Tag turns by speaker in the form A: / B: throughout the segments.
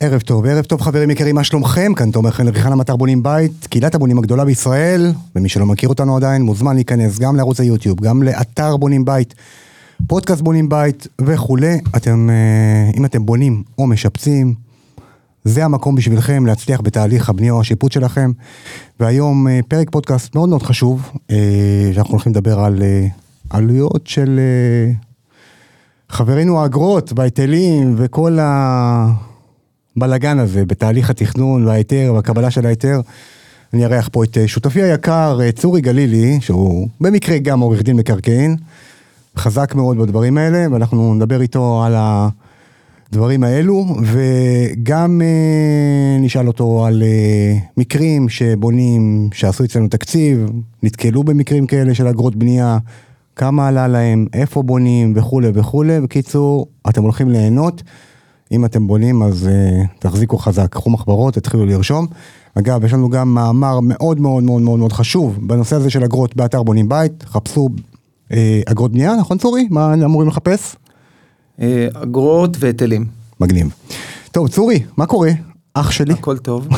A: ערב טוב, ערב טוב חברים יקרים, מה שלומכם? כאן תומר חן לריחן המטר בונים בית, קהילת הבונים הגדולה בישראל, ומי שלא מכיר אותנו עדיין מוזמן להיכנס גם לערוץ היוטיוב, גם לאתר בונים בית, פודקאסט בונים בית וכולי. אתם, אה, אם אתם בונים או משפצים, זה המקום בשבילכם להצליח בתהליך הבנייה או השיפוט שלכם. והיום אה, פרק פודקאסט מאוד מאוד חשוב, אה, שאנחנו הולכים לדבר על אה, עלויות של אה, חברינו האגרות וההיטלים וכל הבלגן הזה בתהליך התכנון וההיתר והקבלה של ההיתר. אני אארח פה את אה, שותפי היקר אה, צורי גלילי, שהוא במקרה גם עורך דין מקרקעין, חזק מאוד בדברים האלה, ואנחנו נדבר איתו על הדברים האלו, וגם אה, נשאל אותו על אה, מקרים שבונים, שעשו אצלנו תקציב, נתקלו במקרים כאלה של אגרות בנייה, כמה עלה להם, איפה בונים וכולי וכולי. בקיצור, אתם הולכים ליהנות. אם אתם בונים אז uh, תחזיקו חזק, קחו מחברות, תתחילו לרשום. אגב, יש לנו גם מאמר מאוד מאוד מאוד מאוד מאוד חשוב בנושא הזה של אגרות באתר בונים בית, חפשו uh, אגרות בנייה, נכון צורי? מה אמורים לחפש?
B: אה, אגרות והיטלים.
A: מגניב. טוב, צורי, מה קורה? אח שלי.
B: הכל טוב.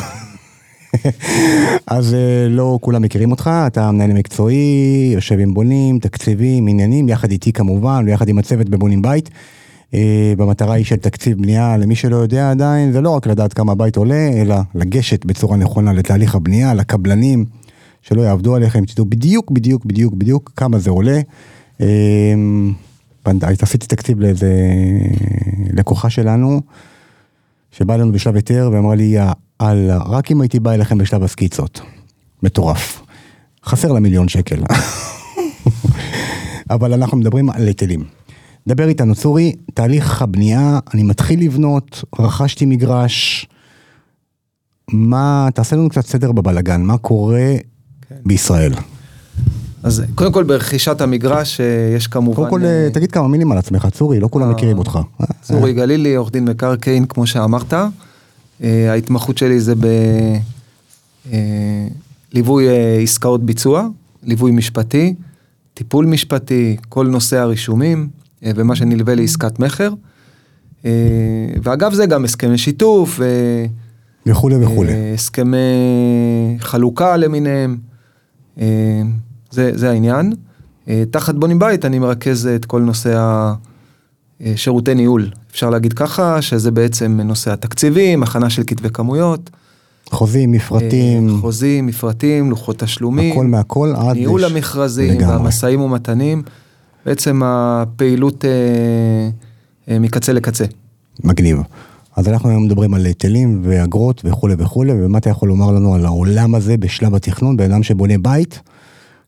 A: אז אה, לא כולם מכירים אותך, אתה המנהל המקצועי, יושב עם בונים, תקציבים, עניינים, יחד איתי כמובן, ויחד עם הצוות בבונים בית. אה, במטרה היא של תקציב בנייה, למי שלא יודע עדיין, זה לא רק לדעת כמה הבית עולה, אלא לגשת בצורה נכונה לתהליך הבנייה, לקבלנים, שלא יעבדו עליכם, תדעו בדיוק, בדיוק, בדיוק, בדיוק כמה זה עולה. אה, פנד- עשיתי תקציב לאיזה אה, לקוחה שלנו, שבאה אלינו בשלב היתר ואמרה לי, יא אללה, רק אם הייתי בא אליכם בשלב הסקיצות. מטורף. חסר לה מיליון שקל. אבל אנחנו מדברים על היטלים. דבר איתנו, צורי, תהליך הבנייה, אני מתחיל לבנות, רכשתי מגרש. מה, תעשה לנו קצת סדר בבלגן, מה קורה
B: כן.
A: בישראל?
B: אז קודם כל ברכישת המגרש אה, יש כמובן...
A: קודם כל,
B: אה,
A: אה, תגיד כמה מילים על עצמך, צורי, לא כולם
B: אה,
A: מכירים אותך.
B: צורי גלילי, עורך דין מקרקעין, כמו שאמרת. אה, ההתמחות שלי זה בליווי אה, עסקאות ביצוע, ליווי משפטי, טיפול משפטי, כל נושא הרישומים אה, ומה שנלווה לעסקת מכר. אה, ואגב זה גם הסכמי שיתוף. אה,
A: וכולי וכולי.
B: אה, הסכמי חלוקה למיניהם, אה, זה, זה העניין. אה, תחת בונים בית אני מרכז את כל נושא השירותי ניהול, אפשר להגיד ככה, שזה בעצם נושא התקציבים, הכנה של כתבי כמויות,
A: חוזים,
B: אה,
A: מפרטים,
B: חוזים, מפרטים, לוחות תשלומים,
A: הכל מהכל עד...
B: ניהול
A: לש-
B: המכרזים,
A: לגמרי.
B: והמשאים ומתנים, בעצם הפעילות אה, אה, מקצה לקצה.
A: מגניב. אז אנחנו היום מדברים על היטלים ואגרות וכולי וכולי, ומה אתה יכול לומר לנו על העולם הזה בשלב התכנון, בן אדם שבונה בית?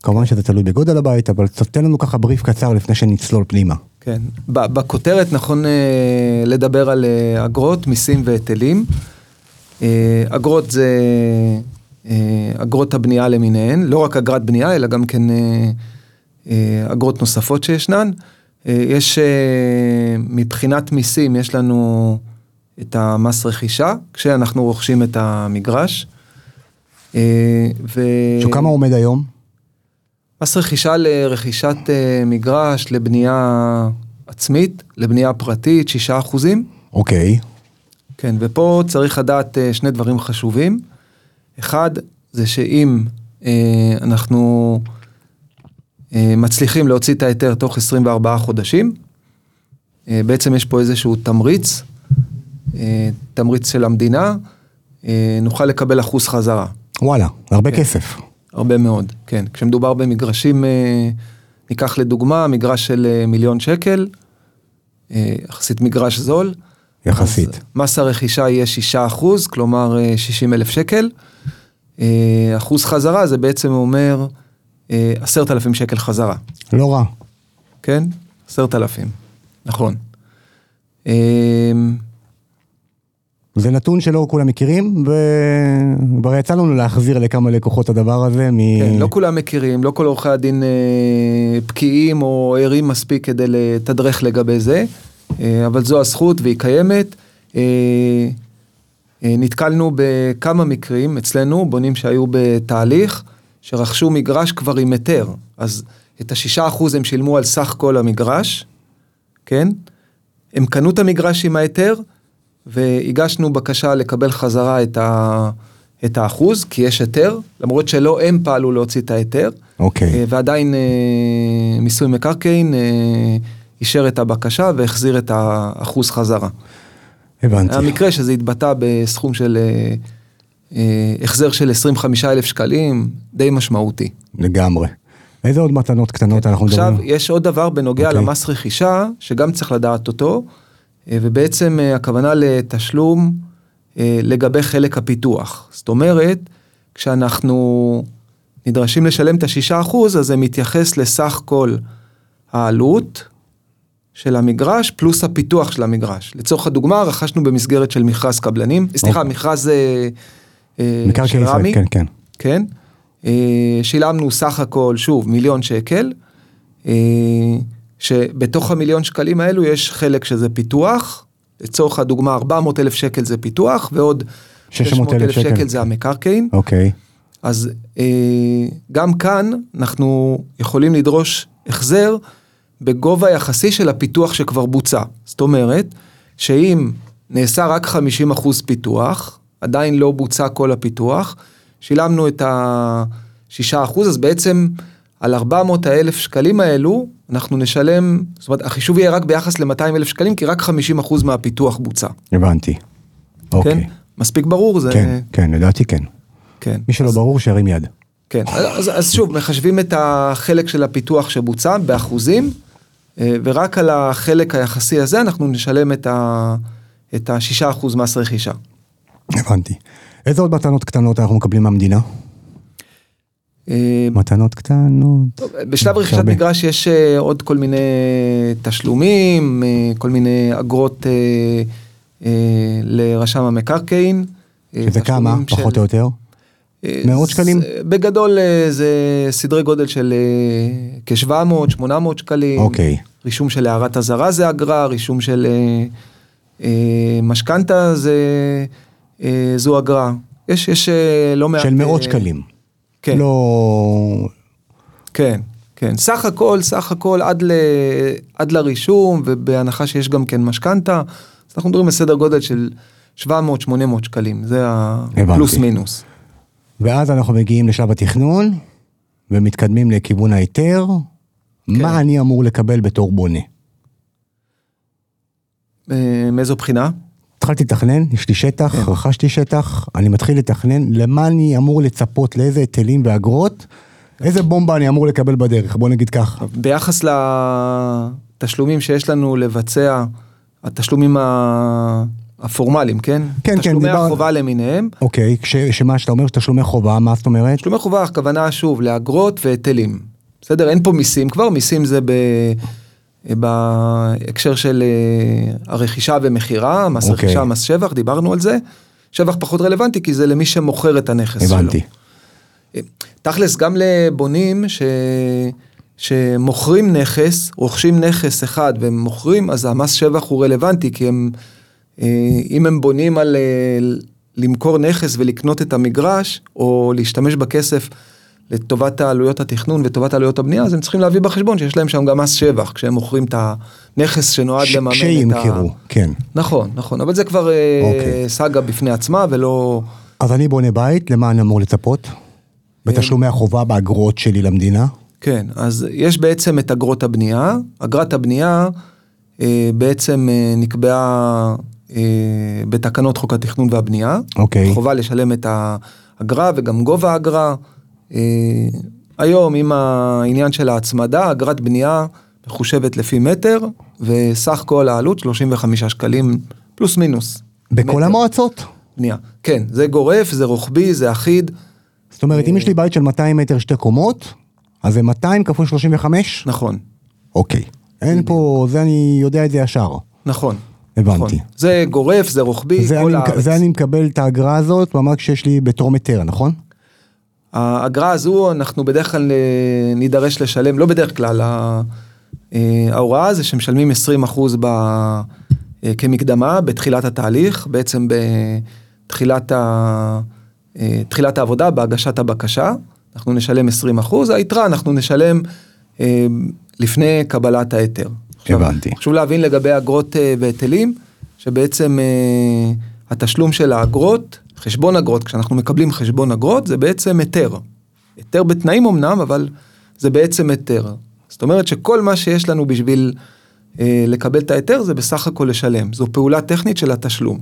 A: כמובן שזה תלוי בגודל הבית, אבל קצת תן לנו ככה בריף קצר לפני שנצלול פנימה.
B: כן, ב- בכותרת נכון אה, לדבר על אה, אגרות, מיסים והיטלים. אה, אגרות זה אה, אגרות הבנייה למיניהן, לא רק אגרת בנייה, אלא גם כן אה, אה, אגרות נוספות שישנן. אה, יש, אה, מבחינת מיסים, יש לנו את המס רכישה, כשאנחנו רוכשים את המגרש. אה, ו...
A: שכמה עומד היום?
B: מס רכישה לרכישת אה, מגרש, לבנייה עצמית, לבנייה פרטית, 6 אחוזים.
A: אוקיי,
B: כן, ופה צריך לדעת אה, שני דברים חשובים. אחד, זה שאם אה, אנחנו אה, מצליחים להוציא את ההיתר תוך 24 חודשים, אה, בעצם יש פה איזשהו תמריץ, אה, תמריץ של המדינה, אה, נוכל לקבל אחוז חזרה.
A: וואלה, זה הרבה
B: כן.
A: כסף.
B: הרבה מאוד, כן. כשמדובר במגרשים, אה, ניקח לדוגמה מגרש של אה, מיליון שקל, אה, יחסית מגרש זול.
A: יחסית.
B: אז מס הרכישה יהיה 6%, כלומר אה, 60 אלף שקל. אה, אחוז חזרה זה בעצם אומר אה, 10,000 שקל חזרה,
A: לא רע.
B: כן? 10,000, נכון. אה,
A: זה נתון שלא כולם מכירים, וכבר יצא לנו להחזיר לכמה לקוחות הדבר הזה מ...
B: כן, לא כולם מכירים, לא כל עורכי הדין אה, בקיאים או ערים מספיק כדי לתדרך לגבי זה, אה, אבל זו הזכות והיא קיימת. אה, אה, נתקלנו בכמה מקרים אצלנו, בונים שהיו בתהליך, שרכשו מגרש כבר עם היתר, אז את השישה אחוז הם שילמו על סך כל המגרש, כן? הם קנו את המגרש עם ההיתר, והגשנו בקשה לקבל חזרה את, ה, את האחוז, כי יש היתר, למרות שלא הם פעלו להוציא את ההיתר,
A: אוקיי.
B: אה, ועדיין אה, מיסוי מקרקעין אה, אישר את הבקשה והחזיר את האחוז חזרה.
A: הבנתי.
B: היה מקרה שזה התבטא בסכום של אה, אה, החזר של 25 אלף שקלים, די משמעותי.
A: לגמרי. איזה עוד מתנות קטנות אנחנו
B: כן, עכשיו,
A: מדברים?
B: יש עוד דבר בנוגע okay.
A: אוקיי.
B: למס רכישה, שגם צריך לדעת אותו, אה, ובעצם אה, הכוונה לתשלום אה, לגבי חלק הפיתוח. זאת אומרת, כשאנחנו נדרשים לשלם את השישה אחוז, אז זה מתייחס לסך כל העלות של המגרש, פלוס הפיתוח של המגרש. לצורך הדוגמה, רכשנו במסגרת של מכרז קבלנים, סליחה,
A: אוקיי.
B: מכרז אה, אה,
A: מקרקעי
B: של רמי.
A: ישראל, כן, כן.
B: כן? אה, שילמנו סך הכל, שוב, מיליון שקל, אה, שבתוך המיליון שקלים האלו יש חלק שזה פיתוח, לצורך הדוגמה 400 אלף שקל זה פיתוח, ועוד
A: 600,000
B: 600,000
A: שקל.
B: שקל זה המקרקעין,
A: אוקיי.
B: אז אה, גם כאן אנחנו יכולים לדרוש החזר בגובה היחסי של הפיתוח שכבר בוצע. זאת אומרת, שאם נעשה רק 50% פיתוח, עדיין לא בוצע כל הפיתוח, שילמנו את ה-6%, אז בעצם על 400 האלף שקלים האלו, אנחנו נשלם, זאת אומרת, החישוב יהיה רק ביחס ל-200 אלף שקלים, כי רק 50% מהפיתוח בוצע.
A: הבנתי.
B: כן? אה.
A: אוקיי.
B: מספיק ברור? זה...
A: כן, כן, לדעתי כן.
B: כן.
A: מי שלא ברור, שירים יד.
B: כן, אז, אז שוב, מחשבים את החלק של הפיתוח שבוצע באחוזים, אה, ורק על החלק היחסי הזה אנחנו נשלם את ה- את השישה אחוז מס רכישה.
A: הבנתי. איזה עוד מתנות קטנות אנחנו מקבלים מהמדינה?
B: אה,
A: מתנות קטנות.
B: טוב, בשלב
A: יש
B: רכישת
A: הרבה.
B: מגרש יש אה, עוד כל מיני תשלומים, אה, כל מיני אגרות אה, אה, לרשם המקרקעין. אה,
A: שזה כמה,
B: תשלומים של-
A: פחות או יותר?
B: אה,
A: מאות שקלים?
B: זה- בגדול אה, זה סדרי גודל של אה, כ-700, 800 שקלים.
A: אוקיי.
B: רישום של הערת אזהרה זה אגרה, רישום של אה, אה, משכנתה זה, אה, זו אגרה. יש, יש אה, לא מעט...
A: של מאות
B: אה,
A: שקלים.
B: כן,
A: לא...
B: כן, כן. סך הכל, סך הכל עד, ל, עד לרישום, ובהנחה שיש גם כן משכנתה, אז אנחנו מדברים על סדר גודל של 700-800 שקלים, זה
A: הבנתי.
B: הפלוס מינוס.
A: ואז אנחנו מגיעים לשלב התכנון, ומתקדמים לכיוון ההיתר.
B: כן.
A: מה אני אמור לקבל בתור בונה?
B: אה, מאיזו בחינה?
A: התחלתי לתכנן, יש לי שטח,
B: כן.
A: רכשתי שטח, אני מתחיל לתכנן למה אני אמור לצפות, לאיזה היטלים ואגרות, איזה בומבה אני אמור לקבל בדרך, בוא נגיד ככה.
B: ביחס לתשלומים שיש לנו לבצע, התשלומים ה- הפורמליים, כן?
A: כן, כן,
B: תשלומי
A: דיבר-
B: החובה למיניהם.
A: אוקיי, כש, שמה שאתה אומר, שתשלומי חובה, מה זאת אומרת?
B: תשלומי חובה, הכוונה שוב לאגרות והיטלים. בסדר? אין פה מיסים כבר, מיסים זה ב... בהקשר של אה, הרכישה ומכירה, מס
A: אוקיי.
B: רכישה, מס שבח, דיברנו על זה. שבח פחות רלוונטי כי זה למי שמוכר את הנכס שלו.
A: הבנתי.
B: תכלס גם לבונים ש... שמוכרים נכס, רוכשים נכס אחד והם מוכרים, אז המס שבח הוא רלוונטי, כי הם, אה, אם הם בונים על אה, למכור נכס ולקנות את המגרש, או להשתמש בכסף לטובת העלויות התכנון וטובת עלויות הבנייה, אז הם צריכים להביא בחשבון שיש להם שם גם מס שבח, כשהם מוכרים את הנכס שנועד
A: ש-
B: לממן את ה...
A: כשימכרו, כן.
B: נכון, נכון, אבל זה כבר אה,
A: אוקיי.
B: סאגה בפני עצמה ולא...
A: אז אני בונה בית, למה אני אמור לצפות? בתשלומי החובה, באגרות שלי למדינה?
B: כן, אז יש בעצם את אגרות הבנייה. אגרת הבנייה אה, בעצם אה, נקבעה אה, בתקנות חוק התכנון והבנייה.
A: אוקיי.
B: חובה לשלם את האגרה וגם גובה האגרה. אה, היום עם העניין של ההצמדה, אגרת בנייה מחושבת לפי מטר, וסך כל העלות 35 שקלים פלוס מינוס.
A: בכל
B: מטר
A: המועצות?
B: בנייה. כן, זה גורף, זה רוחבי, זה אחיד.
A: זאת אומרת, אם יש לי בית של 200 מטר שתי קומות, אז זה 200 כפול 35?
B: נכון,
A: אוקיי. אין פה, זה אני יודע את זה ישר.
B: נכון.
A: הבנתי.
B: נכון. זה גורף, זה רוחבי,
A: זה אני,
B: כל הארץ.
A: זה אני מקבל את האגרה הזאת ממש כשיש לי בתור היתר, נכון?
B: האגרה הזו אנחנו בדרך כלל אה, נידרש לשלם, לא בדרך כלל, ה- אה, ההוראה זה שמשלמים 20% ב, אה, כמקדמה בתחילת התהליך, בעצם בתחילת ה, אה, תחילת העבודה, בהגשת הבקשה, אנחנו נשלם 20%, היתרה אנחנו נשלם אה, לפני קבלת ההיתר. עכשיו,
A: הבנתי.
B: חשוב להבין לגבי אגרות אה, והיטלים, שבעצם אה, התשלום של האגרות, חשבון אגרות, כשאנחנו מקבלים חשבון אגרות, זה בעצם היתר. היתר בתנאים אמנם, אבל זה בעצם היתר. זאת אומרת שכל מה שיש לנו בשביל אה, לקבל את ההיתר זה בסך הכל לשלם. זו פעולה טכנית של התשלום.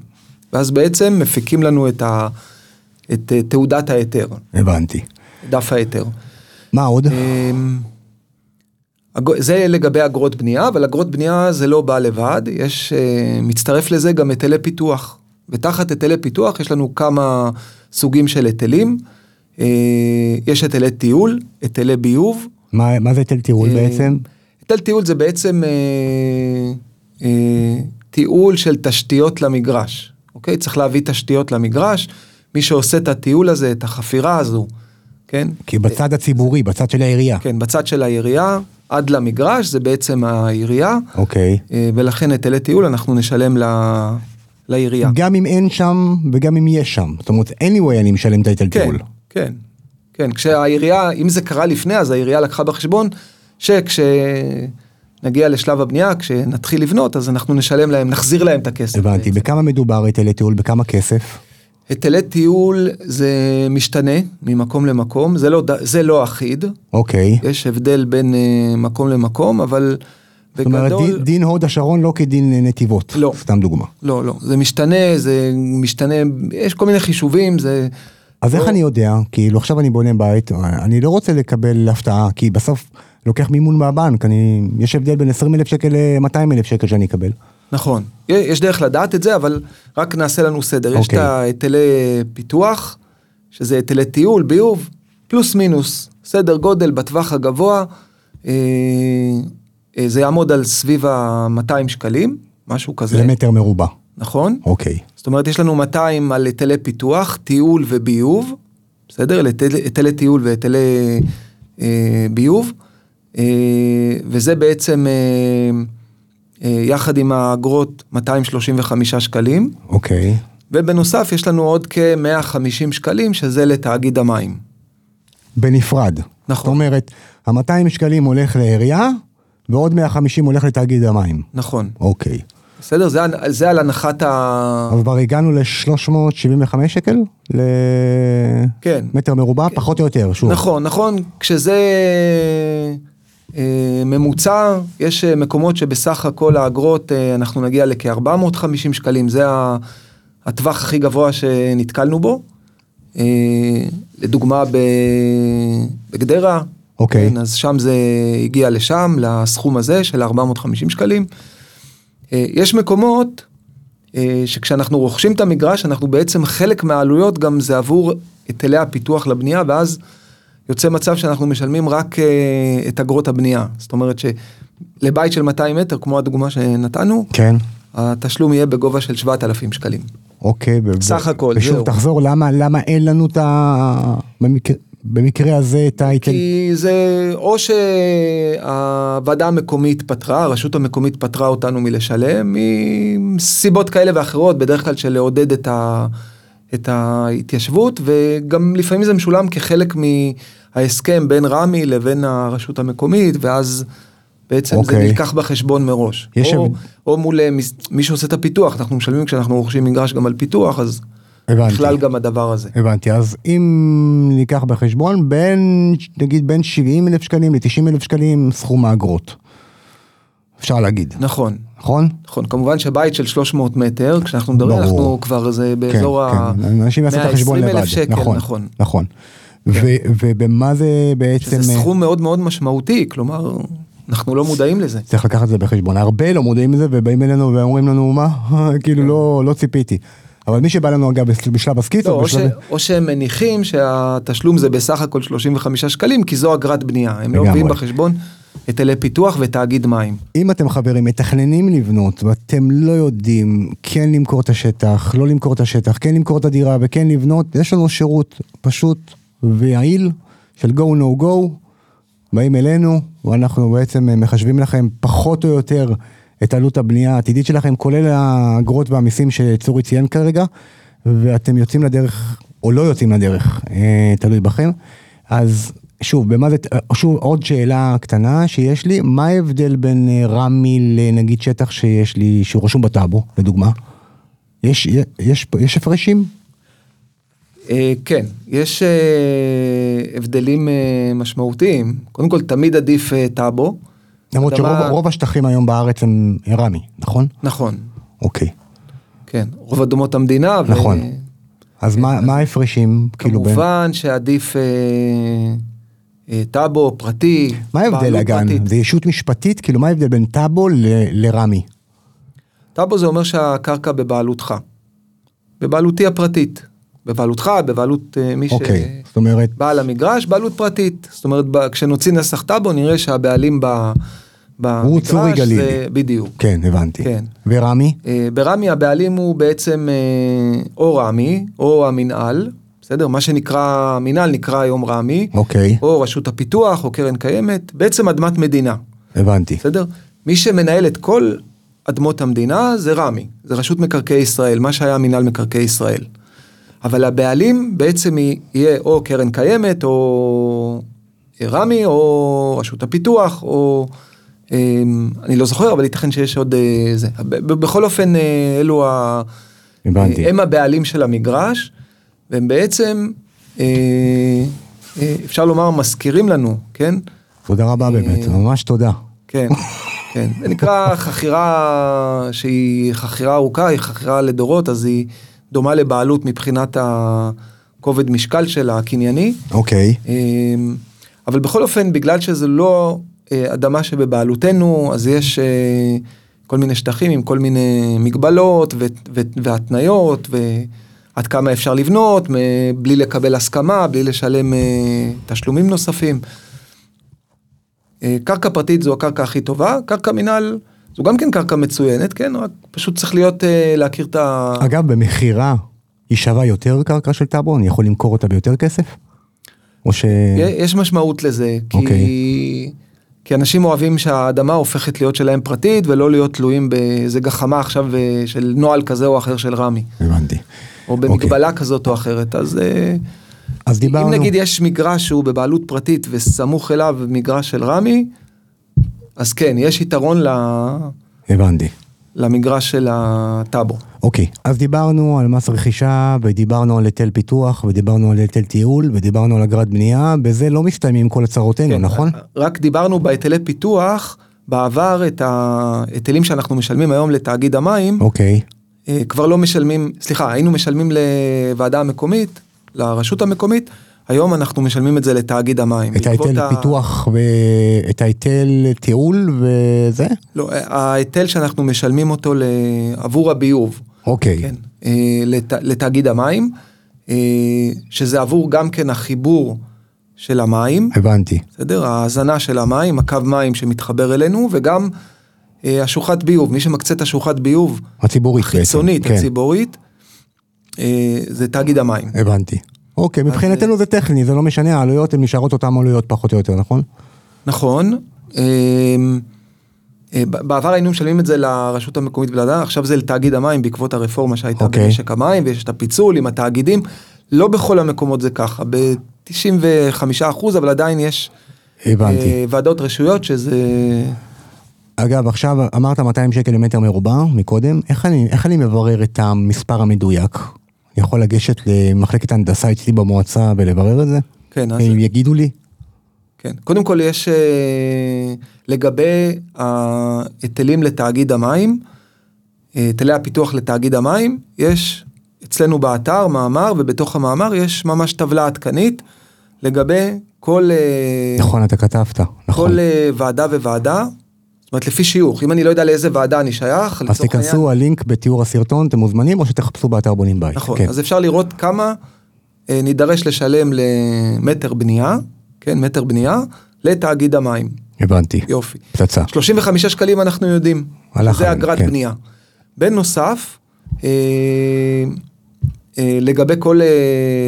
B: ואז בעצם מפיקים לנו את, ה, את אה, תעודת ההיתר,
A: הבנתי.
B: דף ההיתר.
A: מה עוד?
B: אמ, אג- זה לגבי אגרות בנייה, אבל אגרות בנייה זה לא בא לבד, יש, אה, מצטרף לזה גם היטלי פיתוח. ותחת היטלי פיתוח יש לנו כמה סוגים של היטלים. אה, יש היטלי טיול, היטלי ביוב.
A: מה מה זה היטל טיול
B: אה,
A: בעצם?
B: היטל טיול זה בעצם אה, אה, טיול של תשתיות למגרש, אוקיי? צריך להביא תשתיות למגרש. מי שעושה את הטיול הזה, את החפירה הזו, כן?
A: כי בצד הציבורי, בצד של העירייה.
B: אה, כן, בצד של העירייה, עד למגרש, זה בעצם העירייה,
A: אוקיי.
B: אה, ולכן היטלי טיול אנחנו נשלם ל... לעירייה.
A: גם אם אין שם וגם אם יש שם. זאת אומרת, anyway אני משלם את ההיטל
B: כן,
A: טיול.
B: כן, כן, כשהעירייה, אם זה קרה לפני, אז העירייה לקחה בחשבון שכשנגיע לשלב הבנייה, כשנתחיל לבנות, אז אנחנו נשלם להם, נחזיר להם את הכסף.
A: הבנתי. בכמה מדובר היטלי טיול? בכמה כסף?
B: היטלי טיול זה משתנה ממקום למקום, זה לא, ד- זה לא אחיד,
A: אוקיי.
B: יש הבדל בין אה, מקום למקום, אבל
A: זאת אומרת, דין- דין הוד השרון לא כדין אה, נתיבות.
B: לא.
A: סתם דוגמה.
B: לא, לא, זה משתנה, זה משתנה, יש כל מיני חישובים, זה...
A: אז
B: לא.
A: איך אני יודע? כאילו עכשיו אני בונה בית, אני לא רוצה לקבל הפתעה, כי בסוף לוקח מימון מהבנק, אני, יש הבדל בין 20 אלף שקל ל-200 אלף שקל שאני אקבל.
B: נכון. י- יש דרך לדעת את זה, אבל רק נעשה לנו סדר. יש את
A: אוקיי.
B: ההיטלי פיתוח, שזה היטלי טיול, ביוב, פלוס מינוס, סדר גודל בטווח הגבוה, אה, אה, זה יעמוד על סביב ה-200 שקלים, משהו כזה,
A: למטר מרובע.
B: נכון?
A: אוקיי.
B: זאת אומרת, יש לנו 200 על היטלי פיתוח, טיול וביוב, בסדר? היטל- היטלי טיול והיטלי אה, ביוב, אה, וזה בעצם, אה, אה, יחד עם האגרות, 235 שקלים,
A: אוקיי.
B: ובנוסף יש לנו עוד כ-150 שקלים, שזה לתאגיד המים.
A: בנפרד. זאת
B: נכון.
A: אומרת, ה-200 שקלים הולך לעירייה, ועוד 150 הולך לתאגיד המים.
B: נכון,
A: אוקיי.
B: בסדר? זה, הנ- זה על הנחת ה...
A: אבל כבר הגענו ל-375 שקל?
B: כן.
A: למטר מרובע? פחות או יותר, שוב.
B: נכון, נכון, כשזה אה, ממוצע, יש אה, מקומות שבסך הכל האגרות, אה, אנחנו נגיע לכ-450 שקלים, זה ה- הטווח הכי גבוה שנתקלנו בו. אה, לדוגמה, ב- בגדרה,
A: אוקיי.
B: כן, אז שם זה הגיע לשם, לסכום הזה של 450 שקלים. אה, יש מקומות אה, שכשאנחנו רוכשים את המגרש, אנחנו בעצם חלק מהעלויות גם זה עבור היטלי הפיתוח לבנייה, ואז יוצא מצב שאנחנו משלמים רק אה, את אגרות הבנייה. זאת אומרת שלבית של 200 מטר, כמו הדוגמה שנתנו,
A: כן.
B: התשלום יהיה בגובה של 7,000 שקלים.
A: אוקיי. ו-
B: סך
A: ו-
B: הכל,
A: ושוב,
B: זהו.
A: תחזור, למה, למה אין לנו את ה... במקרה, במקרה הזה את ההיטל?
B: כי זה או שהוועדה המקומית פטרה, הרשות המקומית פטרה אותנו מלשלם, מסיבות כאלה ואחרות, בדרך כלל של לעודד את, ה, את ההתיישבות, וגם לפעמים זה משולם כחלק מההסכם בין רמ"י לבין הרשות המקומית, ואז בעצם okay. זה
A: אוקיי.
B: נלקח בחשבון מראש.
A: יש
B: או,
A: הבד-
B: או מול אה, מס- מי שעושה את הפיתוח, אנחנו משלמים כשאנחנו רוכשים מגרש גם על פיתוח, אז
A: הבנתי.
B: בכלל גם הדבר הזה.
A: הבנתי, אז אם ניקח בחשבון בין, נגיד בין 70 אלף שקלים ל-90 אלף שקלים סכום האגרות. אפשר להגיד,
B: נכון.
A: נכון?
B: נכון, כמובן שבית של 300 מטר, כשאנחנו מדברים,
A: ברור.
B: אנחנו כבר זה באזור
A: כן,
B: ה...
A: כן, אנשים יעשו את
B: 120,000
A: החשבון לבד.
B: שקל, נכון.
A: נכון. ו- ובמה זה בעצם... אה,
B: זה סכום מאוד מאוד משמעותי, כלומר, אנחנו לא מודעים לזה.
A: צריך לקחת את זה בחשבון. הרבה לא מודעים לזה ובאים אלינו ואומרים לנו מה,
B: כן.
A: כאילו לא, לא ציפיתי. אבל מי שבא לנו אגב בשלב הסקיץ,
B: לא,
A: או
B: או, ש...
A: בשלב...
B: או שהם מניחים שהתשלום זה בסך הכל 35 שקלים, כי זו אגרת בנייה. הם לא
A: לגמרי.
B: מביאים בחשבון היטלי פיתוח ותאגיד מים.
A: אם אתם חברים מתכננים לבנות ואתם לא יודעים כן למכור את השטח, לא למכור את השטח, כן למכור את הדירה וכן לבנות, יש לנו שירות פשוט ויעיל של go no go, באים אלינו ואנחנו בעצם אה, מחשבים לכם פחות או יותר את עלות הבנייה העתידית שלכם, כולל האגרות והמיסים שצורי ציין כרגע, ואתם יוצאים לדרך או לא יוצאים לדרך, אה, תלוי בכם. אז שוב, במה זה, אה, שוב עוד שאלה קטנה שיש לי, מה ההבדל בין אה, רמי לנגיד שטח שיש לי, שהוא רשום בטאבו, לדוגמה? יש, יש, יש הפרשים?
B: אה, כן, יש אה, הבדלים אה, משמעותיים. קודם כל, תמיד עדיף אה, טאבו.
A: למרות
B: אדמה-
A: שרוב רוב השטחים היום בארץ הם רמי, נכון?
B: נכון,
A: אוקיי.
B: כן. רוב אדומות המדינה. ו-
A: נכון. אז מה מה ההפרשים? כאילו בין...
B: כן. כמובן שעדיף אה, אה, טאבו פרטי.
A: מה ההבדל
B: בעלות
A: אגן?
B: פרטית.
A: זה ישות משפטית? כאילו מה ההבדל בין טאבו ל- לרמי?
B: טאבו זה אומר שהקרקע בבעלותך. בבעלותי הפרטית. בבעלותך, בבעלות אה, מי
A: אוקיי,
B: ש...
A: זאת אומרת,
B: בעל המגרש, בעלות פרטית. זאת אומרת, ב- כשנוציא נסח טאבו, נראה שהבעלים ב... במגרש...
A: צורי גלילי.
B: זה- בדיוק.
A: כן, הבנתי.
B: כן.
A: ורמי?
B: אה, ברמי הבעלים הוא בעצם אה, או רמי, או המינהל, בסדר? מה שנקרא, המינהל נקרא היום רמי,
A: אוקיי,
B: או רשות הפיתוח, או קרן קיימת, בעצם אדמת מדינה,
A: הבנתי.
B: בסדר? מי שמנהל את כל אדמות המדינה זה רמי, זה רשות מקרקעי ישראל, מה שהיה מינהל מקרקעי ישראל. אבל הבעלים בעצם היא- יהיה או קרן קיימת, או אה, רמי, או רשות הפיתוח, או... אה, אני לא זוכר, אבל ייתכן שיש עוד אה, זה. ב- ב- בכל אופן, אה, אלו ה...
A: הבנתי.
B: אה, הם הבעלים של המגרש, והם בעצם, אה, אה, אפשר לומר, מזכירים לנו, כן?
A: תודה רבה באמת, ממש תודה.
B: כן, כן. זה נקרא חכירה שהיא חכירה ארוכה, היא חכירה לדורות, אז היא דומה לבעלות מבחינת הכובד משקל שלה, הקנייני.
A: אוקיי,
B: אמ, אבל בכל אופן, בגלל שזה לא אה, אדמה שבבעלותנו, אז יש אה, כל מיני שטחים עם כל מיני מגבלות ו- ו- והתניות, ועד כמה אפשר לבנות, מ- בלי לקבל הסכמה, בלי לשלם אה, תשלומים נוספים. אה, קרקע פרטית זו הקרקע הכי טובה, קרקע מינהל זו גם כן קרקע מצוינת, כן? רק פשוט צריך להיות, אה, להכיר את ה...
A: אגב, במכירה היא שווה יותר קרקע של טאבו? אני יכול למכור אותה ביותר כסף? או ש...
B: יש משמעות לזה,
A: כן.
B: כי...
A: אוקיי.
B: כי אנשים אוהבים שהאדמה הופכת להיות שלהם פרטית ולא להיות תלויים באיזה גחמה עכשיו אה, של נוהל כזה או אחר של רמי,
A: הבנתי.
B: או
A: אוקיי.
B: במגבלה כזאת או אחרת. אז אה,
A: אז דיברנו...
B: אם נגיד יש מגרש שהוא בבעלות פרטית וסמוך אליו מגרש של רמי, אז כן, יש יתרון ל-
A: הבנתי.
B: למגרש של הטאבו.
A: אוקיי, אז דיברנו על מס רכישה, ודיברנו על היטל פיתוח, ודיברנו על היטל טיול, ודיברנו על אגרת בנייה, בזה לא מסתיימים כל הצהרותינו,
B: כן,
A: נכון?
B: רק דיברנו בהיטלי פיתוח, בעבר את ההיטלים שאנחנו משלמים היום לתאגיד המים,
A: אוקיי,
B: אה, כבר לא משלמים, סליחה, היינו משלמים לוועדה המקומית, לרשות המקומית, היום אנחנו משלמים את זה לתאגיד המים.
A: את
B: בעקבות
A: ההיטל
B: ה-
A: פיתוח, ו- את ההיטל טיול וזה?
B: לא, אה, ההיטל שאנחנו משלמים אותו ל- עבור הביוב,
A: אוקיי,
B: כן, אה, לת- לתאגיד המים, אה, שזה עבור גם כן החיבור של המים,
A: הבנתי.
B: בסדר? ההזנה של המים, הקו מים שמתחבר אלינו, וגם אה, השוחת ביוב, מי שמקצה את השוחת ביוב
A: הציבורית בעצם.
B: החיצונית,
A: כן,
B: הציבורית, אה, זה תאגיד המים.
A: הבנתי. אוקיי, מבחינתנו
B: אה,
A: זה טכני, זה לא משנה, העלויות הן נשארות אותן עלויות פחות או יותר, נכון?
B: נכון. אמ, אה, ב- בעבר היינו משלמים את זה לרשות המקומית ולדה, עכשיו זה לתאגיד המים בעקבות הרפורמה שהייתה
A: אוקיי.
B: במשק המים ויש את הפיצול עם התאגידים. לא בכל המקומות זה ככה, ב-95% אבל עדיין יש
A: הבנתי.
B: אה, ועדות רשויות שזה...
A: אגב, עכשיו אמרת 200 שקל למטר מרובע מקודם, איך אני, איך אני מברר את המספר המדויק? אני יכול לגשת למחלקת הנדסה אצלי במועצה ולברר את זה?
B: כן, אז...
A: הם יגידו לי?
B: כן. קודם כל יש אה, לגבי ההיטלים לתאגיד המים, אה, היטלי הפיתוח לתאגיד המים, יש אצלנו באתר מאמר ובתוך המאמר יש ממש טבלה עדכנית לגבי כל, אה,
A: נכון, אתה כתבת, נכון.
B: כל אה, ועדה וועדה, זאת אומרת לפי שיוך, אם אני לא יודע לאיזה ועדה אני שייך,
A: אז
B: לצורך העניין-
A: תיכנסו, הלינק בתיאור הסרטון, אתם מוזמנים, או שתחפשו באתר בונים בית.
B: נכון,
A: כן.
B: אז אפשר לראות כמה אה, נידרש לשלם למטר בנייה, כן, מטר בנייה, לתאגיד המים,
A: הבנתי.
B: יופי.
A: פצצה.
B: 35 שקלים אנחנו יודעים,
A: הלך
B: זה
A: עלינו,
B: אגרת
A: כן.
B: בנייה. בנוסף, אה, אה, לגבי כל אה,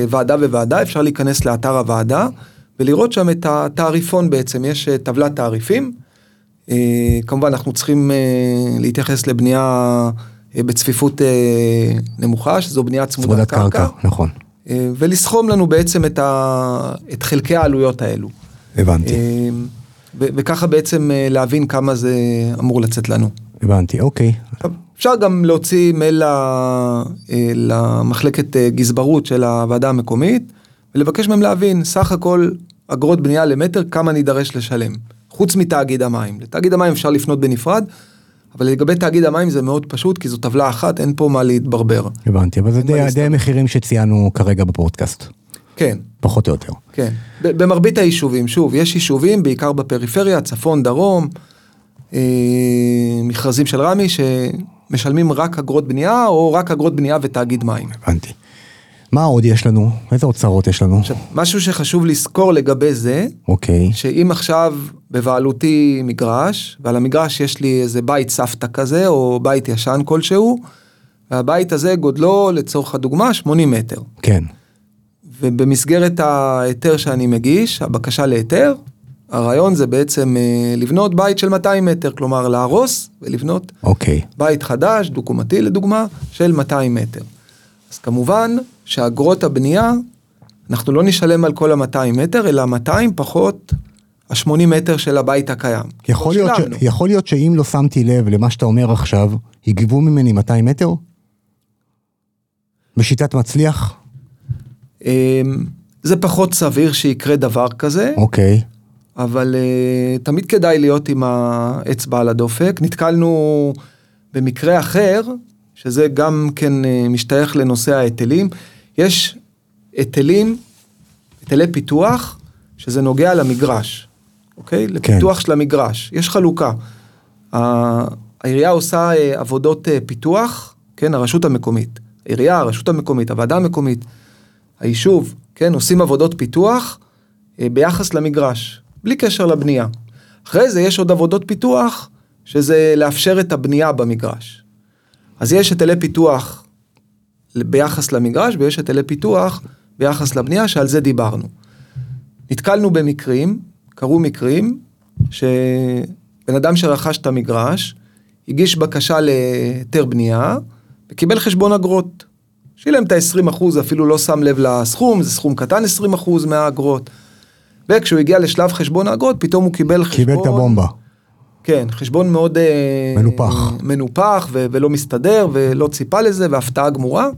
B: ועדה וועדה, אפשר להיכנס לאתר הוועדה ולראות שם את התעריפון בעצם, יש אה, טבלת תעריפים. אה, כמובן אנחנו צריכים אה, להתייחס לבנייה אה, בצפיפות אה, נמוכה, שזו בנייה צמודת
A: צמודת
B: קרקע,
A: קרקע, נכון.
B: אה, ולסכום לנו בעצם את, ה, את חלקי העלויות האלו.
A: הבנתי.
B: אמ, ו- וככה בעצם אה, להבין כמה זה אמור לצאת לנו.
A: הבנתי, אוקיי.
B: עכשיו, אפשר גם להוציא מייל ל- אה, למחלקת אה, גזברות של הוועדה המקומית, ולבקש מהם להבין, סך הכל אגרות בנייה למטר, כמה נידרש לשלם, חוץ מתאגיד המים. לתאגיד המים אפשר לפנות בנפרד, אבל לגבי תאגיד המים זה מאוד פשוט, כי זו טבלה אחת, אין פה מה להתברבר.
A: הבנתי, אבל זה
B: אין מה
A: די- די
B: להסתדר.
A: המחירים שציינו כרגע בפודקאסט,
B: כן.
A: פחות או יותר.
B: כן, ב- במרבית היישובים, שוב, יש יישובים בעיקר בפריפריה, צפון, דרום, אה, מכרזים של רמ"י שמשלמים רק אגרות בנייה או רק אגרות בנייה ותאגיד מים.
A: הבנתי. מה עוד יש לנו? איזה אוצרות יש לנו?
B: עכשיו, משהו שחשוב לזכור לגבי זה,
A: אוקיי.
B: שאם עכשיו בבעלותי מגרש, ועל המגרש יש לי איזה בית סבתא כזה, או בית ישן כלשהו, והבית הזה גודלו, לצורך הדוגמה, 80 מטר.
A: כן.
B: ובמסגרת ההיתר שאני מגיש, הבקשה להיתר, הרעיון זה בעצם אה, לבנות בית של 200 מטר, כלומר להרוס ולבנות
A: אוקיי.
B: בית חדש, דו-קומתי לדוגמה, של 200 מטר. אז כמובן שאגרות הבנייה, אנחנו לא נשלם על כל ה-200 מטר, אלא 200 פחות ה-80 מטר של הבית הקיים.
A: יכול
B: כבר
A: להיות,
B: שילמנו.
A: ש... יכול להיות שאם לא שמתי לב למה שאתה אומר עכשיו, יגבו ממני 200 מטר? בשיטת מצליח?
B: אמ, זה פחות סביר שיקרה דבר כזה.
A: אוקיי.
B: אבל uh, תמיד כדאי להיות עם האצבע על הדופק. נתקלנו במקרה אחר, שזה גם כן uh, משתייך לנושא ההיטלים. יש היטלים, היטלי פיתוח, שזה נוגע למגרש, אוקיי? כן. לפיתוח של המגרש. יש חלוקה. ה- העירייה עושה אה, עבודות אה, פיתוח, כן, הרשות המקומית. העירייה, הרשות המקומית, הוועדה המקומית, היישוב, כן, עושים עבודות פיתוח אה, ביחס למגרש, בלי קשר לבנייה. אחרי זה יש עוד עבודות פיתוח, שזה לאפשר את הבנייה במגרש. אז יש היטלי פיתוח ביחס למגרש ויש היטלי פיתוח ביחס לבנייה, שעל זה דיברנו. נתקלנו במקרים, קרו מקרים, שבן אדם שרכש את המגרש, הגיש בקשה להיתר בנייה, וקיבל חשבון אגרות. שילם את ה-20%, אפילו לא שם לב לסכום, זה סכום קטן 20% מהאגרות. וכשהוא הגיע לשלב חשבון האגרות, פתאום הוא קיבל חשבון...
A: קיבל את הבומבה.
B: כן, חשבון מאוד... אה,
A: מנופח.
B: מנופח ו- ולא מסתדר ולא ציפה לזה והפתעה גמורה.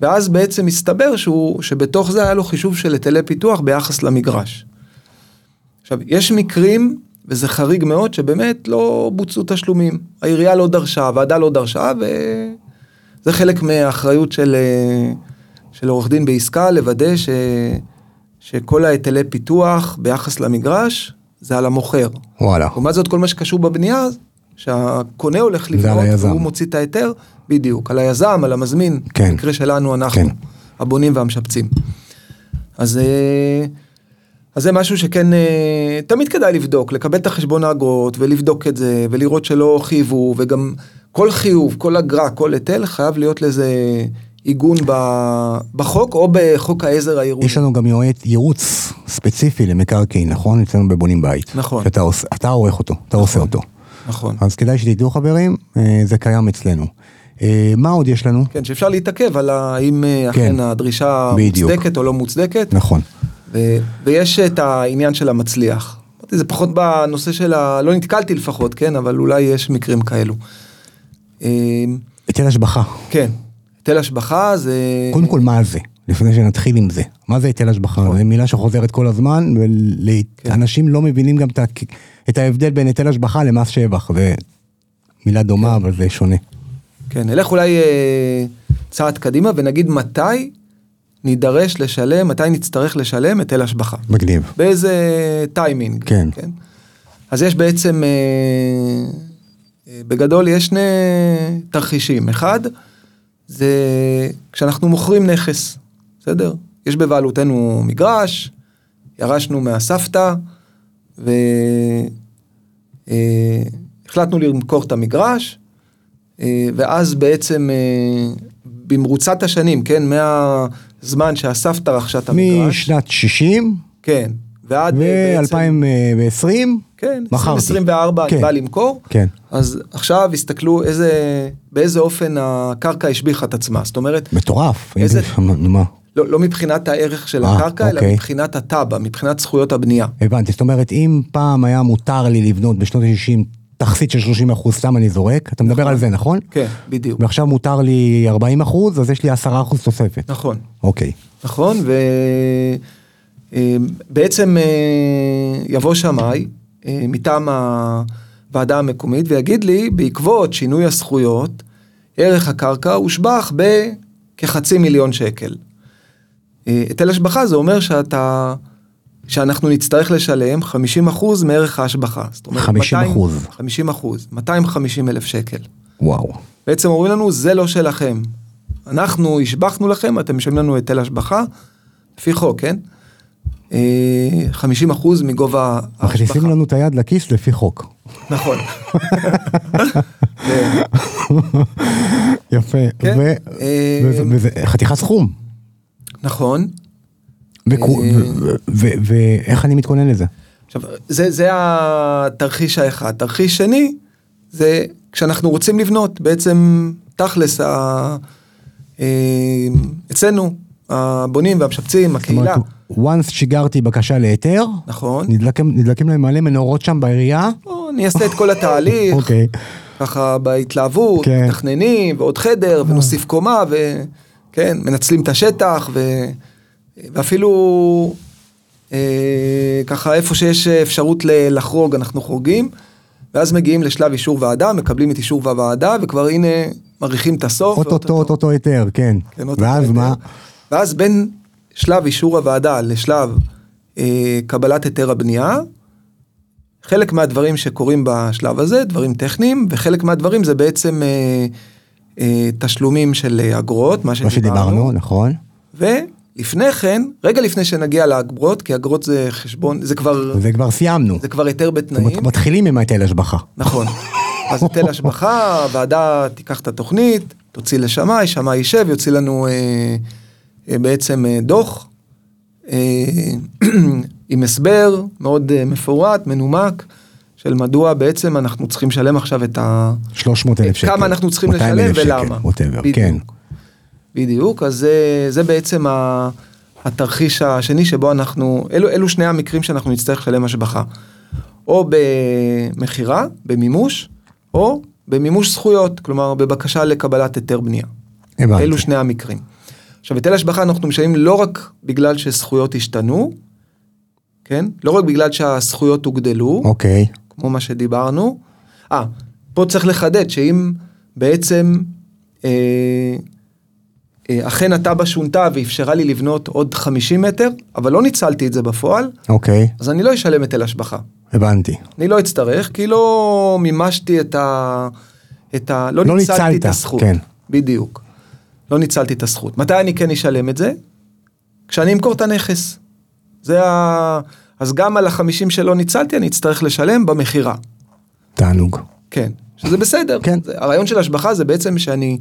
B: ואז בעצם הסתבר שהוא, שבתוך זה היה לו חישוב של היטלי פיתוח ביחס למגרש. עכשיו, יש מקרים, וזה חריג מאוד, שבאמת לא בוצעו תשלומים. העירייה לא דרשה, הוועדה לא דרשה, וזה חלק מהאחריות של, אה, של עורך דין בעסקה, לוודא ש, שכל ההיטלי פיתוח ביחס למגרש, זה על המוכר.
A: וואלה.
B: לעומת זאת כל מה שקשור בבנייה שהקונה הולך
A: על
B: לבנות
A: היזם.
B: והוא מוציא את ההיתר בדיוק על היזם על המזמין
A: כן.
B: במקרה שלנו אנחנו
A: כן.
B: הבונים והמשפצים. אז, אה, אז זה משהו שכן אה, תמיד כדאי לבדוק לקבל את החשבון האגרות ולבדוק את זה ולראות שלא חייבו וגם כל חיוב כל אגרה כל היטל חייב להיות לזה עיגון ב- בחוק או בחוק העזר העירוני.
A: יש לנו גם יועץ- ייעוץ ספציפי למקרקעין, נכון? אצלנו בבונים בית.
B: נכון.
A: שאתה עוש- אתה עורך אותו, אתה עושה אותו.
B: נכון.
A: אז כדאי שתדעו חברים, אה, זה קיים אצלנו. אה, מה עוד יש לנו?
B: כן, שאפשר להתעכב על האם אה,
A: כן.
B: אכן הדרישה
A: בדיוק.
B: מוצדקת או לא מוצדקת.
A: נכון.
B: ו- ויש את העניין של המצליח. אמרתי, זה פחות בנושא של ה... לא נתקלתי לפחות, כן? אבל אולי יש מקרים כאלו. אה,
A: היטל השבחה.
B: כן, היטל השבחה זה...
A: קודם כל מה זה? לפני שנתחיל עם זה. מה זה היטל השבחה?
B: נכון.
A: זו מילה שחוזרת כל הזמן,
B: כן.
A: ואנשים לא מבינים גם את ה- את ההבדל בין היטל השבחה למס שבח. זה מילה דומה, אבל זה שונה.
B: כן, נלך אולי אה, צעד קדימה ונגיד מתי נידרש לשלם, מתי נצטרך לשלם היטל השבחה.
A: מגניב.
B: באיזה טיימינג.
A: כן.
B: כן? אז יש בעצם, אה, אה, בגדול יש שני תרחישים. אחד, זה כשאנחנו מוכרים נכס, בסדר? יש בבעלותנו מגרש, ירשנו מהסבתא, והחלטנו אה, למכור את המגרש, אה, ואז בעצם אה, במרוצת השנים, כן, מהזמן שהסבתא רכשה את המגרש.
A: משנת 60
B: כן, ועד בעצם,
A: אה, ו-2020
B: כן,
A: מכרתי.
B: 2024
A: כן.
B: אני בא למכור,
A: כן.
B: אז עכשיו הסתכלו איזה, באיזה אופן הקרקע השביחה את עצמה, זאת אומרת,
A: מטורף.
B: איזה-
A: אם זה- נו, מה?
B: לא, לא מבחינת הערך של
A: אה,
B: הקרקע, אלא
A: אוקיי.
B: מבחינת הטאבה, מבחינת זכויות הבנייה.
A: הבנתי, זאת אומרת, אם פעם היה מותר לי לבנות בשנות ה-60 תכסית של 30 אחוז, סתם אני זורק, אתה מדבר על זה, נכון?
B: כן, בדיוק.
A: ועכשיו מותר לי 40 אחוז, אז יש לי 10 אחוז תוספת.
B: נכון,
A: אוקיי.
B: נכון, ובעצם יבוא שמאי אה, מטעם הוועדה המקומית ויגיד לי, בעקבות שינוי הזכויות, ערך הקרקע הושבח בכחצי מיליון שקל. אה, היטל השבחה זה אומר שאתה, שאנחנו נצטרך לשלם 50% מערך ההשבחה. זאת אומרת,
A: 50%.
B: 50 אחוז, 250 אלף שקל.
A: וואו.
B: בעצם אומרים לנו, זה לא שלכם. אנחנו השבחנו לכם, אתם משלמים לנו היטל השבחה, לפי חוק, כן? אה, 50 אחוז מגובה
A: מכניסים
B: ההשבחה.
A: לנו את היד לכיס לפי חוק.
B: נכון.
A: יפה.
B: כן.
A: ו-
B: אה,
A: וזה- וזה חתיכת סכום.
B: נכון.
A: וכו-
B: אה,
A: ו- ו- ו- ואיך אני מתכונן לזה?
B: עכשיו, זה, זה התרחיש האחד. תרחיש שני, זה כשאנחנו רוצים לבנות, בעצם תכלס, ה... אה, אצלנו, הבונים והמשפצים,
A: זאת אומרת,
B: הקהילה,
A: once שיגרתי בקשה להיתר,
B: נכון?
A: נדלקים- נדלקים להם מלא מנורות שם בעירייה,
B: בוא, אני אעשה את כל התהליך,
A: אוקיי.
B: ככה בהתלהבות,
A: כן. אה.
B: מתכננים, ועוד חדר, ונוסיף קומה, וכן, מנצלים את השטח, ו... ואפילו אה, ככה איפה שיש אפשרות ל- לחרוג, אנחנו חורגים, ואז מגיעים לשלב אישור ועדה, מקבלים את אישור הוועדה, וכבר הנה מריחים את הסוף.
A: אוטוטו אוטוטו היתר, כן.
B: כן, אוטוטו
A: ואז
B: היתר.
A: מה?
B: ואז בין שלב אישור הוועדה לשלב אה, קבלת היתר הבנייה, חלק מהדברים שקורים בשלב הזה, דברים טכניים, וחלק מהדברים זה בעצם אה, אה, תשלומים של אה, אגרות, מה
A: מה
B: שדיברנו.
A: שדיברנו, נכון.
B: ולפני כן, רגע לפני שנגיע לאגרות, כי אגרות זה חשבון, זה כבר,
A: זה כבר סיימנו.
B: זה כבר היתר בתנאים.
A: מת- מתחילים עם היטל השבחה.
B: נכון. אז היטל השבחה, הוועדה תיקח את התוכנית, תוציא לשמאי, שמאי יישב, יוציא לנו אה, אה, בעצם אה, דוח אה, עם הסבר מאוד אה, מפורט, מנומק, של מדוע בעצם אנחנו צריכים לשלם עכשיו את ה...
A: 300 אלף שקל.
B: כמה אנחנו צריכים
A: 200,000
B: לשלם
A: שקל,
B: ולמה.
A: whatever,
B: בדיוק.
A: כן.
B: בדיוק, אז זה, זה בעצם ה, התרחיש השני שבו אנחנו, אלו, אלו שני המקרים שאנחנו נצטרך לשלם השבחה. או במכירה, במימוש, או במימוש זכויות, כלומר בבקשה לקבלת היתר בנייה.
A: הבנתי.
B: אלו שני המקרים. עכשיו, היטל השבחה אנחנו משלמים לא רק בגלל שזכויות השתנו, כן? לא רק בגלל שהזכויות הוגדלו,
A: אוקיי.
B: כמו מה שדיברנו. אה, פה צריך לחדד שאם בעצם אה, אה, אכן התב"ע שונתה ואפשרה לי לבנות עוד 50 מטר, אבל לא ניצלתי את זה בפועל,
A: אוקיי.
B: אז אני לא אשלם היטל השבחה.
A: הבנתי.
B: אני לא אצטרך, כי לא מימשתי את ה... את ה... לא,
A: לא
B: ניצלתי
A: ניצלת,
B: את הזכות.
A: כן.
B: בדיוק. לא ניצלתי את הזכות. מתי אני כן אשלם את זה? כשאני אמכור את הנכס. זה ה... אז גם על החמישים שלא ניצלתי, אני אצטרך לשלם במכירה.
A: תענוג.
B: כן. שזה בסדר.
A: כן.
B: זה, הרעיון של השבחה זה בעצם שאני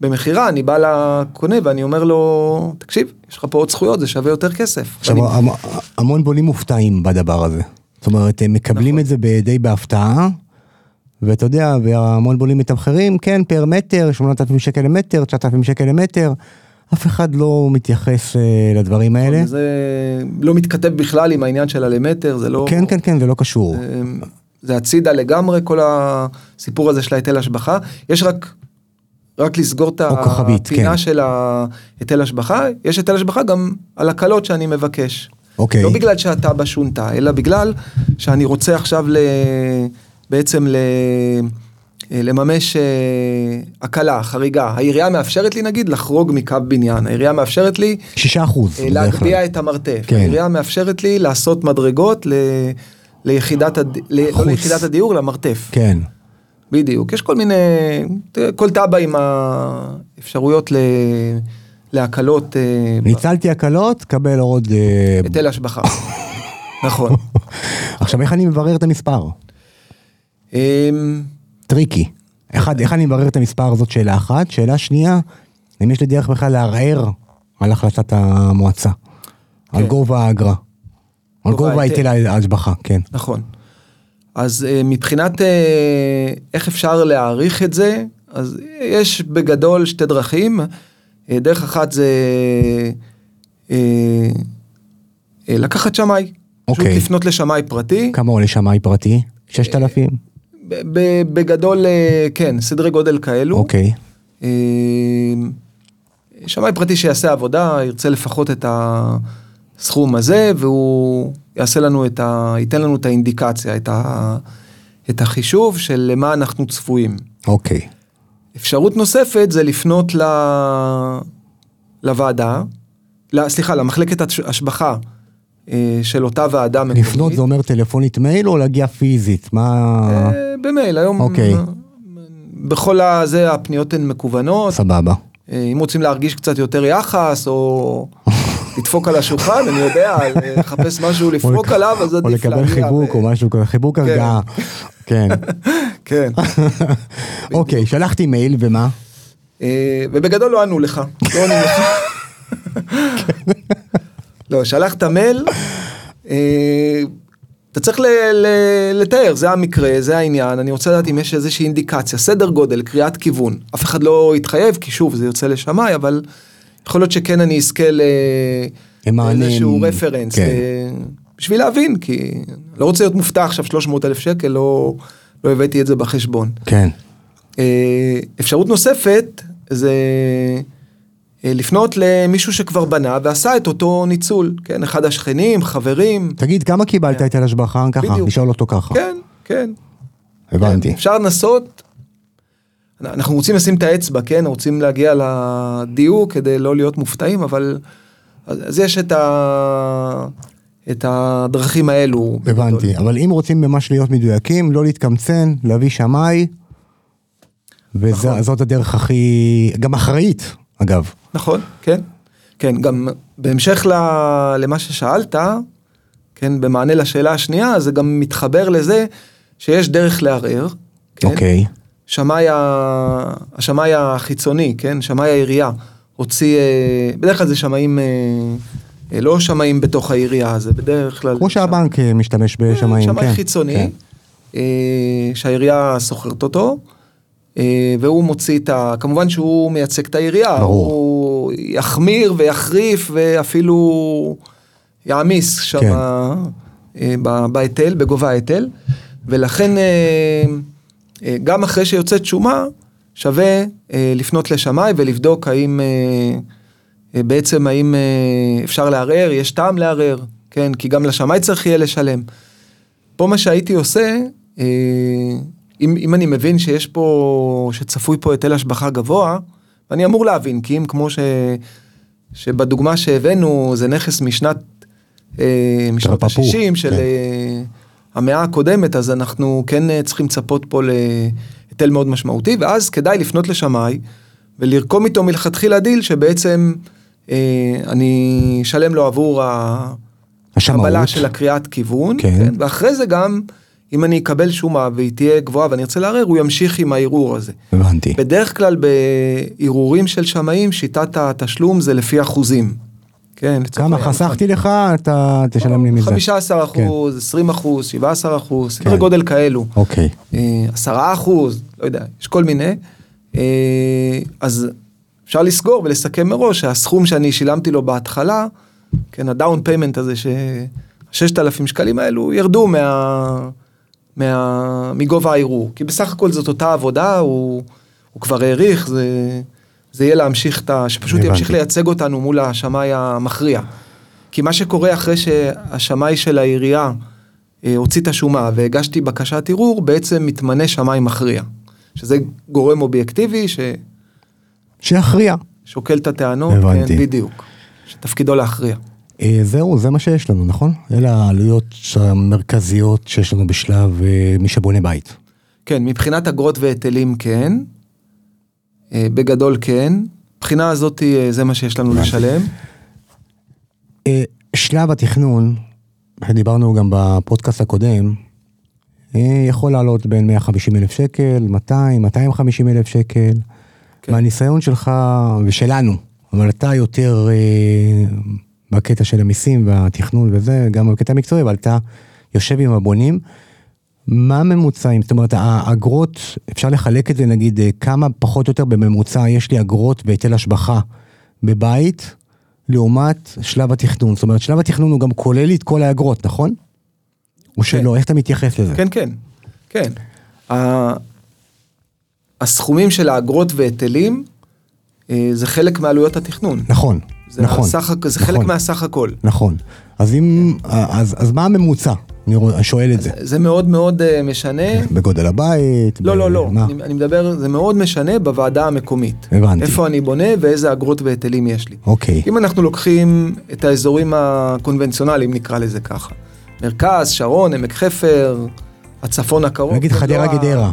B: במכירה, אני בא לקונה ואני אומר לו, תקשיב, יש לך פה עוד זכויות, זה שווה יותר כסף.
A: עכשיו,
B: ואני-
A: המ- המון בונים מופתעים בדבר הזה. זאת אומרת, הם
B: נכון.
A: מקבלים את זה די בהפתעה, ואתה יודע, והמון בונים מתמחרים, כן, פר מטר, 8,000 שקל למטר, 9,000 שקל למטר, אף אחד לא מתייחס אה, לדברים האלה.
B: נכון, זה לא מתכתב בכלל עם העניין של הלמטר, זה לא...
A: כן, כן, כן, זה לא קשור.
B: אמ, זה הצידה לגמרי כל הסיפור הזה של ההיטל השבחה יש רק רק לסגור את
A: או כוכבית,
B: הפינה
A: כן.
B: של ההיטל השבחה יש היטל השבחה גם על הקלות שאני מבקש.
A: אוקיי.
B: לא בגלל שהתב"ע שונתה אלא בגלל שאני רוצה עכשיו ל... בעצם ל... לממש אה, הקלה חריגה העירייה מאפשרת לי נגיד לחרוג מקו בניין העירייה מאפשרת לי
A: 6 אחוז.
B: אה, להגביה את המרתף.
A: כן.
B: העירייה מאפשרת לי לעשות מדרגות ל... ליחידת, הד... ל...
A: חוץ.
B: לא ליחידת הדיור, למרתף.
A: כן.
B: בדיוק. יש כל מיני, כל תב"ע עם האפשרויות ל... להקלות אה, ב-
A: ניצלתי הקלות, קבל עוד... אה,
B: היטל השבחה. נכון.
A: עכשיו, איך אני מברר את המספר?
B: אמ,
A: טריקי. אחד, איך אני מברר את המספר זאת שאלה אחת. שאלה שנייה, אם יש לי דרך בכלל לערער על החלטת המועצה. על
B: כן.
A: גובה האגרה. על
B: גובה
A: גובה
B: ההיטל.
A: היטל ההשבחה, כן.
B: נכון. אז אה, מבחינת אה, איך אפשר להעריך את זה, אז יש בגדול שתי דרכים. אה, דרך אחת זה אה, אה, לקחת שמאי. פשוט
A: אוקיי.
B: לפנות לשמאי פרטי. אה,
A: כמה עולה שמאי פרטי? 6,000?
B: ב- ב- בגדול, אה, כן, סדרי גודל כאלו.
A: אוקיי.
B: אה, שמאי פרטי שיעשה עבודה, ירצה לפחות את הסכום הזה, והוא יעשה לנו את ה... ייתן לנו את האינדיקציה, את, ה... את החישוב של למה אנחנו צפויים.
A: אוקיי.
B: אפשרות נוספת זה לפנות ל... לוועדה, ל... סליחה, למחלקת הש- השבחה אה, של אותה ועדה מקומית.
A: לפנות זה אומר טלפונית מייל או להגיע פיזית? מה...
B: אה, במייל, היום...
A: אוקיי.
B: בכל הזה הפניות הן מקוונות,
A: סבבה.
B: אה, אם רוצים להרגיש קצת יותר יחס, או לדפוק על השולחן, אני יודע, אה, לחפש משהו לפרוק
A: לק-
B: עליו, אז
A: או
B: עדיף
A: לקבל
B: להגיע
A: חיבוק
B: ב-
A: או משהו כזה, חיבוק הרגעה. כן.
B: כן.
A: אוקיי, שלחתי מייל ומה?
B: אה, ובגדול לא ענו לך, לא עונים לך. לא, שלחת מייל, אה, אתה צריך ל- ל- לתאר, זה המקרה, זה העניין, אני רוצה לדעת אם יש איזושהי אינדיקציה, סדר גודל, קריאת כיוון. אף אחד לא יתחייב, כי שוב, זה יוצא לשמאי, אבל יכול להיות שכן אני אזכה ל-
A: למענים,
B: לאיזשהו רפרנס,
A: כן.
B: אה, בשביל להבין, כי לא רוצה להיות מופתע עכשיו 300 אלף שקל, לא, לא הבאתי את זה בחשבון.
A: כן.
B: אה, אפשרות נוספת זה אה, לפנות למישהו שכבר בנה ועשה את אותו ניצול, כן, אחד השכנים, חברים,
A: תגיד, כמה קיבלת
B: כן.
A: היטל השבחה? ככה,
B: בדיוק.
A: לשאול אותו ככה.
B: כן, כן.
A: הבנתי.
B: אפשר לנסות, אנ- אנחנו רוצים לשים את האצבע, כן, רוצים להגיע לדיוק כדי לא להיות מופתעים, אבל אז אז יש את, ה... את הדרכים האלו. בגדול.
A: הבנתי. אבל אם רוצים ממש להיות מדויקים, לא להתקמצן, להביא שמאי, וזאת הדרך הכי... גם אחראית, אגב.
B: נכון, כן. כן, גם בהמשך ל- למה ששאלת, כן, במענה לשאלה השנייה, זה גם מתחבר לזה שיש דרך לערער. כן?
A: אוקיי.
B: שמאי, ה- השמאי החיצוני, כן, שמאי העירייה, הוציא, אה, בדרך כלל זה שמאים, אה, אה, לא שמאים בתוך העירייה, זה בדרך כלל...
A: כמו שהבנק אה, משתמש בשמאים, כן.
B: שמאי חיצוני,
A: כן.
B: אה, שהעירייה שוכרת אותו, אה, והוא מוציא את ה... כמובן שהוא מייצג את העירייה,
A: ברור.
B: הוא יחמיר ויחריף ואפילו יעמיס שם
A: כן.
B: אה, ב- בהיטל, בגובה ההיטל, ולכן אה, אה, גם אחרי שיוצאת שומה, שווה אה, לפנות לשמאי ולבדוק האם אה, אה, בעצם האם אה, אפשר לערער, יש טעם לערער, כן, כי גם לשמאי צריך יהיה לשלם. פה מה שהייתי עושה, אה, אם, אם אני מבין שיש פה, שצפוי פה היטל השבחה גבוה, אני אמור להבין, כי אם כמו ש, שבדוגמה שהבאנו זה נכס משנת, אה, משנות
A: תרפפו,
B: ה-60 של
A: כן.
B: אה, המאה הקודמת, אז אנחנו כן אה, צריכים לצפות פה להיטל מאוד משמעותי, ואז כדאי לפנות לשמאי ולרקום איתו מלכתחילה דיל שבעצם אה, אני אשלם לו עבור ה...
A: השמאות.
B: קבלה של הקריאת כיוון,
A: כן.
B: כן. כן, ואחרי זה גם, אם אני אקבל שומה והיא תהיה גבוהה ואני ארצה לערער, הוא ימשיך עם הערעור הזה.
A: הבנתי.
B: בדרך כלל בערעורים של שמאים, שיטת התשלום זה לפי אחוזים. כן, לצורך
A: כמה
B: העניין.
A: חסכתי לך, אתה תשלם לי מזה.
B: 15 אחוז, 20 אחוז, 17 אחוז, סדרי
A: כן.
B: גודל כאלו.
A: אוקיי.
B: אה, 10 אחוז, לא יודע, יש כל מיני. אה, אז אפשר לסגור ולסכם מראש שהסכום שאני שילמתי לו בהתחלה, כן, הדאון פיימנט הזה, ש-6,000 שקלים האלו ירדו מה... מה... מגובה הערעור. כי בסך הכל זאת אותה עבודה, הוא, הוא כבר העריך, זה, זה יהיה להמשיך את ה... שפשוט
A: הבנתי.
B: ימשיך לייצג אותנו מול השמאי המכריע. כי מה שקורה אחרי שהשמאי של העירייה אה, הוציא את השומה והגשתי בקשת ערעור, בעצם מתמנה שמאי מכריע. שזה גורם אובייקטיבי
A: שיכריע.
B: ששוקל את הטענות,
A: הבנתי.
B: כן, בדיוק. שתפקידו להכריע.
A: אה, זהו, זה מה שיש לנו, נכון? אלה העלויות המרכזיות שיש לנו בשלב אה, מי שבונה בית.
B: כן, מבחינת אגרות והיטלים כן, אה, בגדול כן, מבחינה הזאת אה, זה מה שיש לנו לשלם.
A: אה, שלב התכנון, דיברנו גם בפודקאסט הקודם, אה, יכול לעלות בין 150 אלף שקל, 200, 250 אלף שקל.
B: כן.
A: מהניסיון שלך ושלנו, אבל אתה יותר אה, בקטע של המיסים והתכנון וזה, גם בקטע המקצועי, אבל אתה יושב עם הבונים. מה ממוצעים? זאת אומרת, האגרות, אפשר לחלק את זה נגיד אה, כמה פחות או יותר בממוצע יש לי אגרות והיטל השבחה בבית, לעומת שלב התכנון. זאת אומרת, שלב התכנון הוא גם כולל לי את כל האגרות, נכון? או שלא, איך אתה מתייחס לזה?
B: כן, כן, כן. ה- הסכומים של האגרות והיטלים אה, זה חלק מעלויות התכנון.
A: נכון,
B: זה,
A: נכון.
B: הסך, הכ- זה
A: נכון,
B: חלק מהסך הכל.
A: נכון. אז אם, אז, אז מה הממוצע? אני רוא- שואל את זה.
B: זה מאוד מאוד אה, משנה.
A: בגודל הבית?
B: לא,
A: ב-
B: לא, לא.
A: כן. מה?
B: אני, אני מדבר, זה מאוד משנה בוועדה המקומית.
A: הבנתי.
B: איפה אני בונה ואיזה אגרות והיטלים יש לי.
A: אוקיי.
B: אם אנחנו לוקחים את האזורים הקונבנציונליים, נקרא לזה ככה. מרכז, שרון, עמק חפר, הצפון הקרוב.
A: נגיד
B: זה לא
A: חדרה
B: ה-
A: גדרה.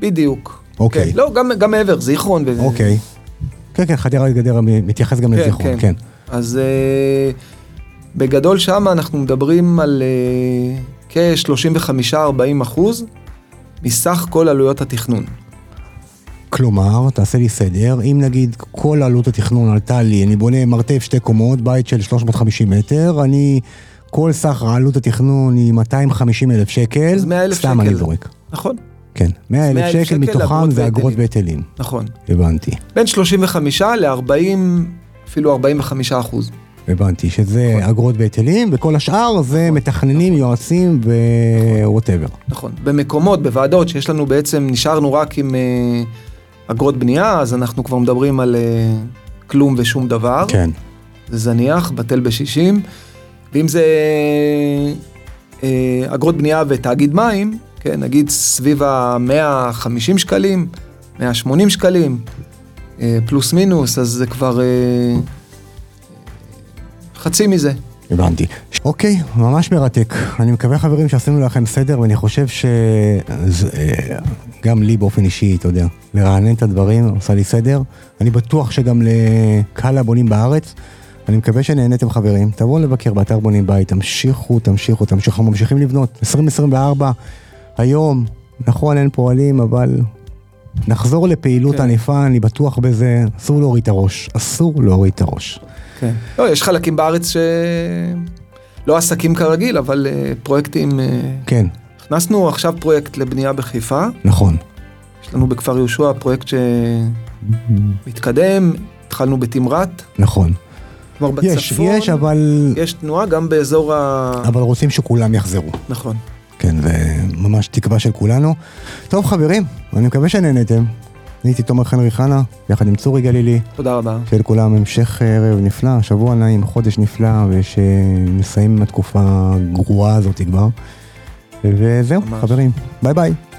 B: בדיוק.
A: אוקיי.
B: כן, לא, גם, גם מעבר, זיכרון. ו-
A: אוקיי. כן, כן, חדרה גדרה מתייחס גם
B: אה. כן,
A: לזיכרון, כן.
B: אז אה, בגדול שם אנחנו מדברים על אה, כ-35-40 אחוז מסך כל עלויות התכנון.
A: כלומר, תעשה לי סדר, אם נגיד כל עלות התכנון עלתה לי, אני בונה מרתף שתי קומות, בית של 350 מטר, אני, כל סך עלות התכנון היא 250 אלף שקל,
B: אז 100,000
A: סתם
B: שקל.
A: אני זורק.
B: נכון,
A: כן, 100 אלף
B: 100,000
A: שקל
B: שקל
A: מתוכם
B: אגרות
A: זה אגרות והיטלים.
B: והיטלים. נכון.
A: הבנתי,
B: בין 35 ל-40, אפילו 45 אחוז.
A: הבנתי, שזה אגרות והיטלים, וכל השאר זה מתכננים, יועצים ווואטאבר.
B: נכון. במקומות, בוועדות שיש לנו בעצם, נשארנו רק עם אה, אגרות בנייה, אז אנחנו כבר מדברים על אה, כלום ושום דבר.
A: כן,
B: זה זניח, בטל בשישים. ואם זה אה, אגרות בנייה ותאגיד מים, כן, נגיד סביב ה-150 שקלים, 180 שקלים, אה, פלוס מינוס, אז זה כבר אה, חצי מזה.
A: הבנתי. אוקיי, ממש מרתק. אני מקווה, חברים, שעשינו לכם סדר, ואני חושב ש... זה, אה, גם לי באופן אישי, אתה יודע, לרענן את הדברים, עושה לי סדר. אני בטוח שגם לקהל הבונים בארץ. אני מקווה שנהניתם חברים, תבואו לבקר באתר בונים בית, תמשיכו, תמשיכו, תמשיכו, אנחנו ממשיכים לבנות. 2024, היום, נכון אין פועלים, אבל נחזור לפעילות
B: כן.
A: ענפה, אני בטוח בזה, אסור להוריד את הראש, אסור להוריד את הראש.
B: כן. לא, יש חלקים בארץ ש... לא עסקים כרגיל, אבל אה, פרויקטים... אה,
A: כן,
B: הכנסנו עכשיו פרויקט לבנייה בחיפה,
A: נכון.
B: יש לנו בכפר יהושע פרויקט שמתקדם, התחלנו בתמרת,
A: נכון.
B: כלומר בצפון,
A: יש, יש, אבל,
B: יש תנועה גם באזור ה...
A: אבל רוצים שכולם יחזרו.
B: נכון.
A: כן, זה ממש תקווה של כולנו. טוב, חברים, אני מקווה שנהנתם. אני הייתי תומר חנרי חנה, יחד עם צורי גלילי.
B: תודה רבה.
A: שיהיה לכולם המשך אה, ערב נפלא, שבוע נעים, חודש נפלא, ושנסיים עם התקופה הגרועה הזאת כבר. וזהו,
B: ממש.
A: חברים, ביי ביי.